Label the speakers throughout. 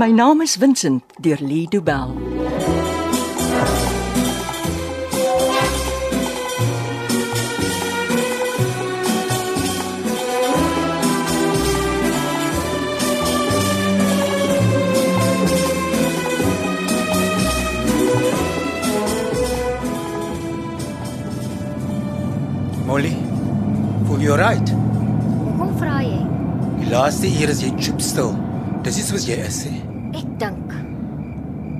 Speaker 1: My naam is Vincent deur Lee Du Bell.
Speaker 2: Molly, voel jy right?
Speaker 3: Hoekom vra jy?
Speaker 2: Die laaste uur is jy chipstil. Dis nie soos jy is nie.
Speaker 3: Ek dink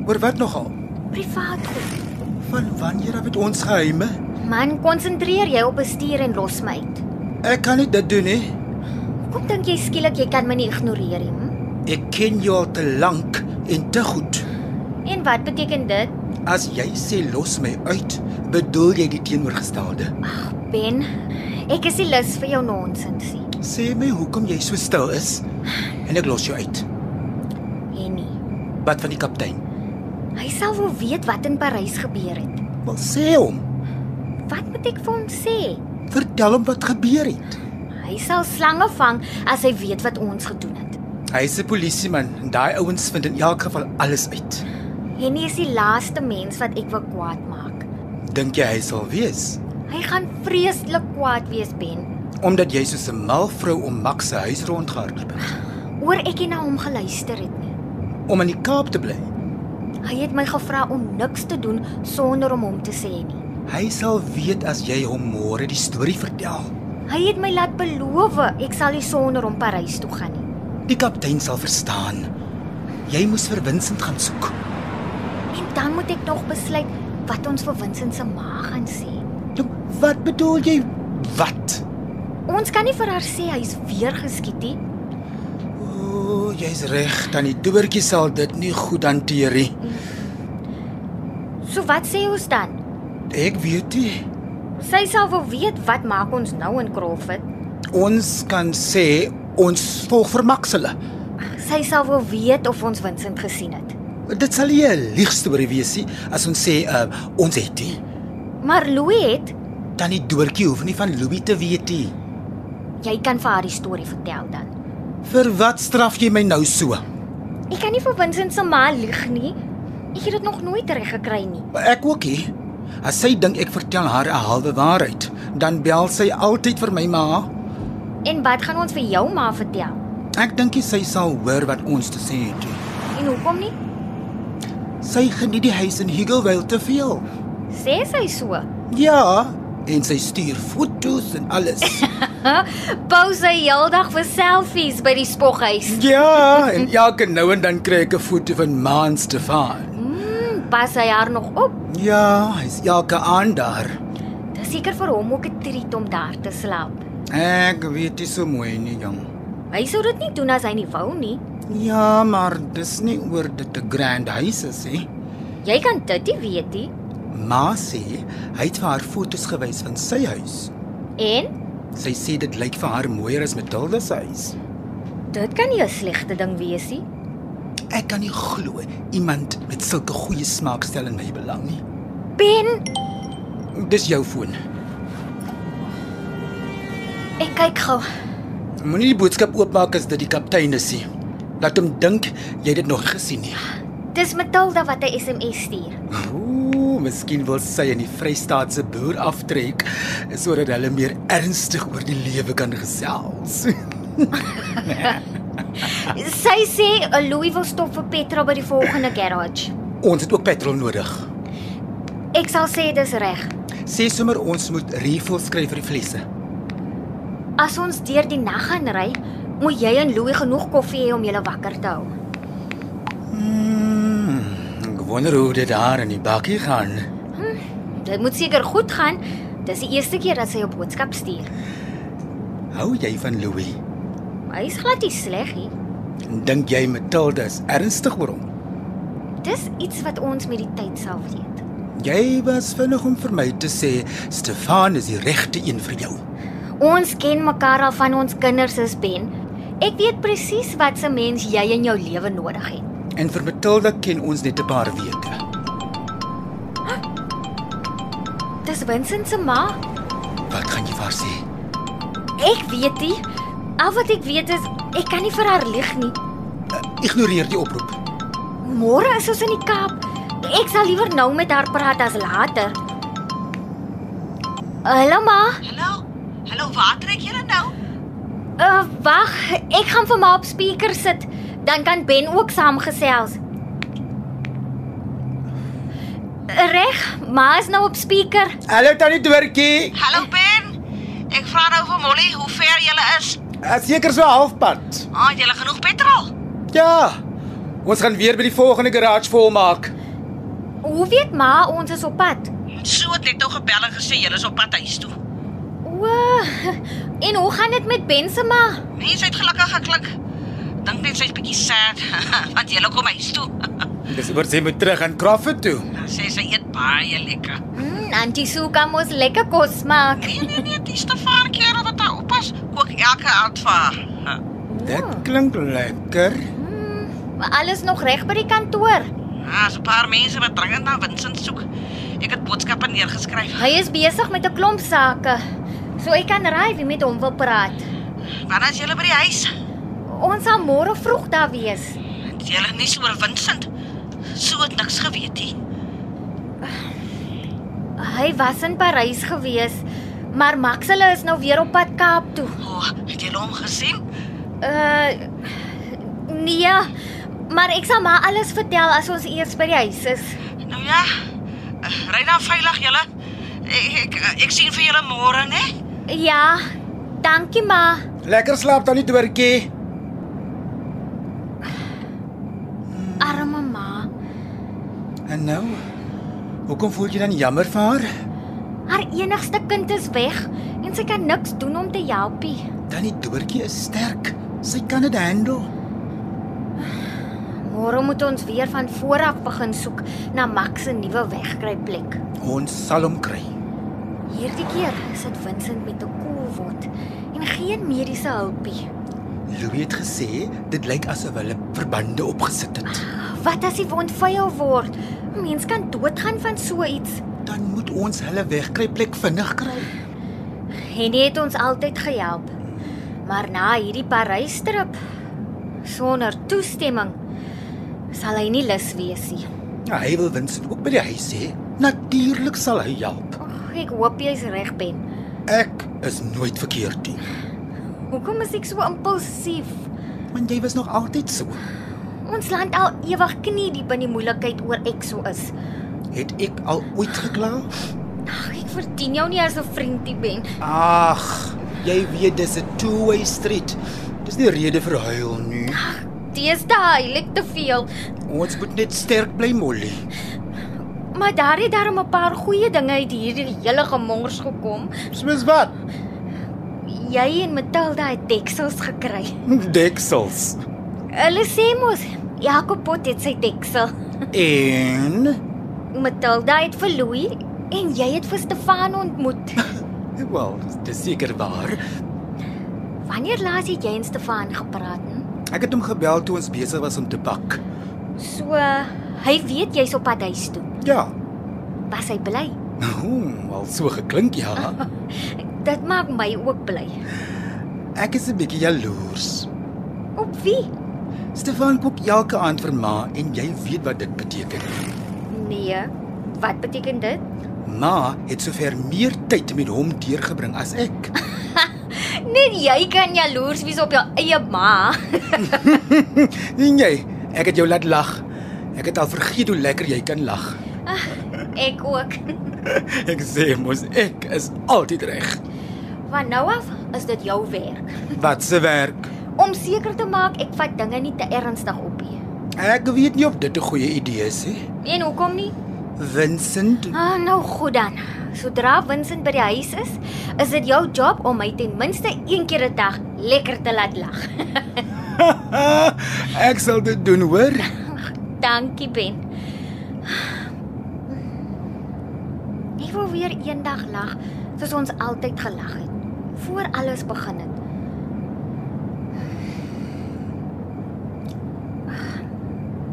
Speaker 2: Oor wat nogal?
Speaker 3: privaat goed.
Speaker 2: Van wanneer af het ons geheime?
Speaker 3: Man, konsentreer jou op bestuur en los my uit.
Speaker 2: Ek kan nie dit doen nie.
Speaker 3: Hoekom dink jy skielik jy kan my nie ignoreer nie? hm?
Speaker 2: Ek ken jou al te lank en te goed.
Speaker 3: En wat beteken dit?
Speaker 2: As jy sê los my uit, bedoel jy die teenoorgestelde.
Speaker 3: Ben, ek is nie lus vir jou nonsens nie.
Speaker 2: Sê my hoekom jy so stil is en ek los jou uit.
Speaker 3: En nie.
Speaker 2: Wat van die kaptein?
Speaker 3: Hy sal wel weet wat in Parys gebeur het.
Speaker 2: Wel sê hom.
Speaker 3: Wat moet ek vir hom sê?
Speaker 2: Vertel hom wat gebeur het.
Speaker 3: Hy sal slange vang as hy weet wat ons gedoen het.
Speaker 2: Hy's 'n polisieman en daai ouens vind in elk geval alles uit.
Speaker 3: Henny is die laaste mens wat ek wil kwaad maak.
Speaker 2: Dink jy hy sal weet?
Speaker 3: Hy gaan vreeslik kwaad wees, Ben,
Speaker 2: Omdat jy soos 'n mal vrou om Max se huis rondgehardloop het.
Speaker 3: oor ek nie na hom geluister het nie.
Speaker 2: Om in die Kaap te bly.
Speaker 3: Hy het my gevra om niks te doen sonder om hom te sê nie.
Speaker 2: Hy sal weet as jy hom môre die storie vertel.
Speaker 3: Hy het my laat beloof ek sal nie sonder hom Parys toe gaan nie.
Speaker 2: Die kaptein sal verstaan. Jy moes vir Vincent gaan soek.
Speaker 3: En dan moet ek nog besluit wat ons vir Vincent se ma gaan sê.
Speaker 2: Nou, Wat bedoel jy? Wat?
Speaker 3: Ons kan nie vir haar sê hy's weer geskiet nie.
Speaker 2: O, jy's reg, tannie Tobertjie sal dit nie goed hanteer nie.
Speaker 3: So wat sê ons dan?
Speaker 2: Ek weet nie.
Speaker 3: Sy sal wel weet wat maak ons nou in Crawford.
Speaker 2: Ons kan sê ons volg vir Max hulle.
Speaker 3: Sy sal wel weet of ons Vincent gesien het.
Speaker 2: Dit sal nie 'n leegstorie wees nie as ons sê uh, ons het nie.
Speaker 3: Maar Louis het,
Speaker 2: Tannie Doortjie hoef nie van Louis te weet nie.
Speaker 3: jy kan vir haar die storie vertel dan.
Speaker 2: Vir wat straf jy my nou so?
Speaker 3: Ek kan nie vir Vincent se ma lieg nie. Ek het dit nog nooit reg gekry nie.
Speaker 2: Ek ook nie. As sy dink ek vertel haar 'n halwe waarheid, dan bel sy altyd vir my ma.
Speaker 3: En wat gaan ons vir jou ma vertel?
Speaker 2: Ek dink nie sy sal hoor wat ons te sê het nie.
Speaker 3: En hoekom nie?
Speaker 2: Sy geniet die huis in Higgleville te veel.
Speaker 3: Sê sy so.
Speaker 2: Ja, en sy stuur foto's en alles.
Speaker 3: Pos sy heeldag vir selfies by die spoghuis.
Speaker 2: ja, en elke nou en dan kry ek 'n foto van Maan Stefan.
Speaker 3: Hmm, pas sy haar nog op.
Speaker 2: Ja, hy's elke aand daar.
Speaker 3: Dis seker vir hom ook 'n treat om daar te slaap.
Speaker 2: Ek weet dit so mooi nie, jong.
Speaker 3: Hy sou dit nie doen as hy nie wou nie.
Speaker 2: Ja, maar dis nie oor dit te grand huis is hè.
Speaker 3: Jy kan dit nie weet nie.
Speaker 2: Ma sê hy het vir haar foto's gewys van sy huis.
Speaker 3: En
Speaker 2: Sy sê dit lyk vir haar mooier as Matilda se huis.
Speaker 3: dit kan nie 'n slegte ding wees nie.
Speaker 2: Ek kan nie glo iemand met sulke goeie smaak stel in my belang nie.
Speaker 3: Ben,
Speaker 2: Dis jou foon.
Speaker 3: ek kyk gou.
Speaker 2: Moenie die boodskap oopmaak as dit die kaptein is nie. Laat hom dink jy het dit nog gesien nie.
Speaker 3: Dis Matilda wat 'n SMS stuur.
Speaker 2: Ooh, miskien wil sy in die Vrystaatse boer aftrek sodat hulle meer ernstig oor die lewe kan gesels.
Speaker 3: Sy sê eh, Louis wil stop vir Petra by die volgende garage.
Speaker 2: ons het ook petrol nodig.
Speaker 3: Ek sal sê dis reg.
Speaker 2: Sê sommer ons moet refills kry vir die flesse.
Speaker 3: As ons deur die nag gaan ry, moet jy en Louis genoeg koffie hê om julle wakker te hou.
Speaker 2: Mm, ek wonder hoe dit daar in die bakkie gaan.
Speaker 3: Dit moet seker goed gaan. Dis die eerste keer dat sy 'n boodskap stuur.
Speaker 2: Hou jy van Louis?
Speaker 3: Hy's glad nie sleg nie.
Speaker 2: Dink jy Matilda is ernstig oor hom?
Speaker 3: Dis iets wat ons met die tyd sal weet.
Speaker 2: Jy was vinnig om vir my te sê Stefan is die regte een vir jou.
Speaker 3: Ons ken mekaar al van ons kinders is Ben. Ek weet presies wat se mens jy in jou lewe nodig het.
Speaker 2: En vir Matilda ken ons net 'n paar weke.
Speaker 3: Dis Vincent se ma.
Speaker 2: Wat gaan jy vir haar sê?
Speaker 3: Ek weet nie. Al wat ek weet is ek kan nie vir haar lieg nie.
Speaker 2: Ignoreer die oproep.
Speaker 3: Môre is ons in die Kaap. Ek sal liewer nou met haar praat as later. Hallo ma.
Speaker 4: Hallo. Hallo, waar trek julle nou?
Speaker 3: Uh, wag, ek gaan vir my op speaker sit, dan kan Ben ook saamgesels. Reg, ma is nou op speaker.
Speaker 2: Hallo tannie Doortjie.
Speaker 4: Hallo Ben. Ek vra nou vir Molly hoe ver julle is.
Speaker 2: Ek seker so halfpad.
Speaker 4: Ah, julle genoeg petrol.
Speaker 2: Ja. Ons gaan weer by die volgende garage volmaak.
Speaker 3: Hoe weet ma ons is op pad?
Speaker 4: So het net nou gebel en gesê julle is op pad huis toe.
Speaker 3: O, en hoe gaan dit met Ben se ma?
Speaker 4: Mense het gelukkig geklik. Dink net sy's bietjie sad want julle kom huis toe.
Speaker 2: Dis oor sy moet terug aan Crawford toe.
Speaker 4: Sê sy eet baie lekker.
Speaker 3: Mm, Auntie Sue kan mos lekker kos maak.
Speaker 4: Nee nee nee, dis te vaar keer wat daar oppas. Kook elke aand vir haar. Ha.
Speaker 2: Dit klink lekker.
Speaker 3: Maar alles nog reg by die kantoor.
Speaker 4: Daar's Ah, 'n paar mense wat dringend na Vincent soek. Ek het boodskappe neergeskryf.
Speaker 3: Hy is besig met 'n klomp sake. So ek kan raai wie met hom wil praat.
Speaker 4: Wanneer is julle by die huis?
Speaker 3: Ons sal môre vroeg daar wees.
Speaker 4: Het julle nie so oor Vincent so het niks geweet nie.
Speaker 3: Hy was in Parys gewees, maar Max hulle is nou weer op pad Kaap toe.
Speaker 4: O, oh, het julle hom gesien?
Speaker 3: Uh nee, maar ek sal maar alles vertel as ons eers by die huis is.
Speaker 4: Nou ja. eh, Ry dan veilig julle. Ek ek, eh, ek sien vir julle môre, né?
Speaker 3: Ja, dankie ma.
Speaker 2: Lekker slaap tannie Doortjie.
Speaker 3: Arme ma.
Speaker 2: En nou? Hoekom voel jy dan jammer vir haar?
Speaker 3: Haar enigste kind is weg en sy kan niks doen om te helpie.
Speaker 2: Tannie Doortjie is sterk. Sy kan dit handle.
Speaker 3: Môre moet ons weer van voor af begin soek na Max se nuwe wegkruipplek.
Speaker 2: Ons sal hom kry.
Speaker 3: Hierdie keer sit Vincent met 'n koel wond en geen mediese hulpie.
Speaker 2: Louis het gesê dit lyk asof hulle verbande opgesit het.
Speaker 3: Wat as die wond vuil word? Mens kan doodgaan van so iets.
Speaker 2: Dan moet ons hulle wegkry plek vinnig kry.
Speaker 3: Henny het ons altyd gehelp. Maar na hierdie Parys trip sonder toestemming sal hy nie lus wees nie.
Speaker 2: Ja, hy wil Vincent ook by die huis hê. Natuurlik sal hy help.
Speaker 3: Ag, ek hoop jy's reg, Ben.
Speaker 2: Ek is nooit verkeerd nie.
Speaker 3: Hoekom is ek so impulsief?
Speaker 2: Want jy was nog altyd so.
Speaker 3: Ons land al ewig knie diep in die moeilikheid oor ek so is.
Speaker 2: Het ek al ooit gekla?
Speaker 3: Ag, ek verdien jou nie as 'n vriendie, Ben.
Speaker 2: Ag, jy weet dis 'n two-way street. Dis nie rede vir huil nie.
Speaker 3: Deesdae huil ek te veel,
Speaker 2: Ons moet net sterk bly, Molly.
Speaker 3: maar daar het darem 'n paar goeie dinge uit hierdie hele gemors gekom.
Speaker 2: Soos wat?
Speaker 3: Jy en Matilda het teksels gekry.
Speaker 2: Deksels.
Speaker 3: Hulle sê mos Jakob Pot het sy teksel.
Speaker 2: En
Speaker 3: Matilda het vir Louis en jy het vir Stefan ontmoet.
Speaker 2: wel, dis seker waar.
Speaker 3: Wanneer laas het jy en Stefan gepraat? Hm?
Speaker 2: Ek het hom gebel toe ons besig was om te bak.
Speaker 3: So hy weet jy's op pad huis toe.
Speaker 2: Ja.
Speaker 3: Was hy bly?
Speaker 2: Hmm, al so geklink ja.
Speaker 3: Dit maak my ook bly.
Speaker 2: Ek is 'n bietjie jaloers.
Speaker 3: Op wie?
Speaker 2: Stefan kook elke aand vir ma en jy weet wat dit beteken.
Speaker 3: Nee. Wat beteken dit?
Speaker 2: Ma het sover meer tyd met hom deurgebring as ek.
Speaker 3: Net jy kan jaloers wees op jou eie ma.
Speaker 2: En jy, ek het jou laat lag. Ek het al vergeet hoe lekker jy kan lag.
Speaker 3: Ek ook.
Speaker 2: Ek sê mos ek is altyd reg.
Speaker 3: Van nou af is dit jou werk
Speaker 2: Wat se werk.
Speaker 3: om seker te maak ek vat dinge nie te ernstig op nie.
Speaker 2: Ek weet nie of dit 'n goeie idee is nie.
Speaker 3: Nee, En hoekom nie?
Speaker 2: Vincent,
Speaker 3: Ah, nou goed dan. Sodra Vincent by die huis is, is dit jou job om my ten minste een keer 'n dag lekker te laat lag.
Speaker 2: Ah, ek sal dit doen hoor.
Speaker 3: Dankie, Ben. Ek wou weer eendag lag soos ons altyd gelag het voor alles begin het.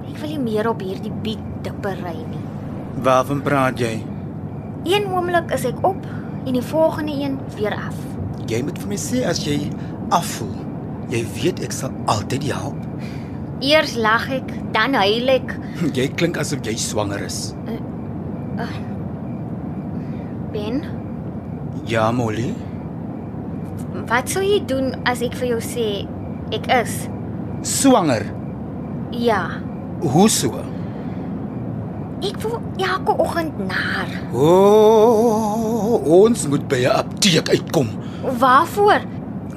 Speaker 3: Ek wil nie meer op hierdie biet dippery nie.
Speaker 2: Waarvan praat jy?
Speaker 3: Een oomblik is ek op en die volgende een weer af.
Speaker 2: Jy moet vir my sê as jy afvoel. Jy weet ek sal altyd jou help.
Speaker 3: Eers lag ek, dan huil ek.
Speaker 2: Jy klink asof jy swanger is.
Speaker 3: Ben,
Speaker 2: Ja, Molly.
Speaker 3: wat sou jy doen as ek vir jou sê ek is?
Speaker 2: Swanger.
Speaker 3: Ja.
Speaker 2: Hoe so?
Speaker 3: Ek voel elke oggend naar.
Speaker 2: O, oh, ons moet by 'n apteek uitkom.
Speaker 3: Waarvoor?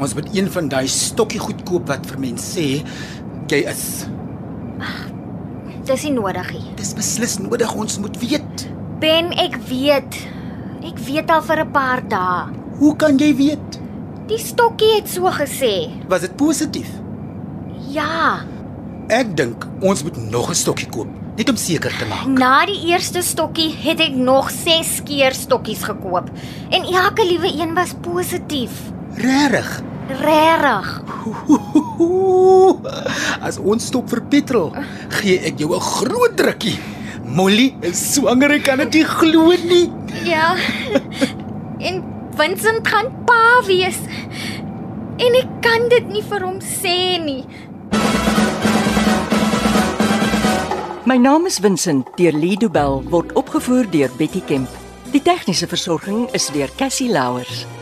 Speaker 2: Ons moet een van daai stokkie goed koop wat vir mense sê jy is.
Speaker 3: Dis nie nodig nie.
Speaker 2: Dis beslis nodig, ons moet weet.
Speaker 3: Ben, ek weet. Ek weet al vir 'n paar dae.
Speaker 2: Hoe kan jy weet?
Speaker 3: Die stokkie het so gesê.
Speaker 2: Was dit positief?
Speaker 3: Ja,
Speaker 2: Ek dink ons moet nog 'n stokkie koop, net om seker te maak.
Speaker 3: na die eerste stokkie het ek nog 6 keer stokkies gekoop en elke liewe een was positief.
Speaker 2: Regtig?
Speaker 3: Regtig.
Speaker 2: Oeh, As ons stop vir petrol, gee ek jou 'n groot drukkie. Molly is swanger, ek kan dit nie glo nie.
Speaker 3: Ja. en Vincent gaan pa wees. En ek kan dit nie vir hom sê nie.
Speaker 1: My naam is Vincent deur Lido Bell word opgevoer deur Betty Kemp. Die tegniese versorging is deur Cassie Louers.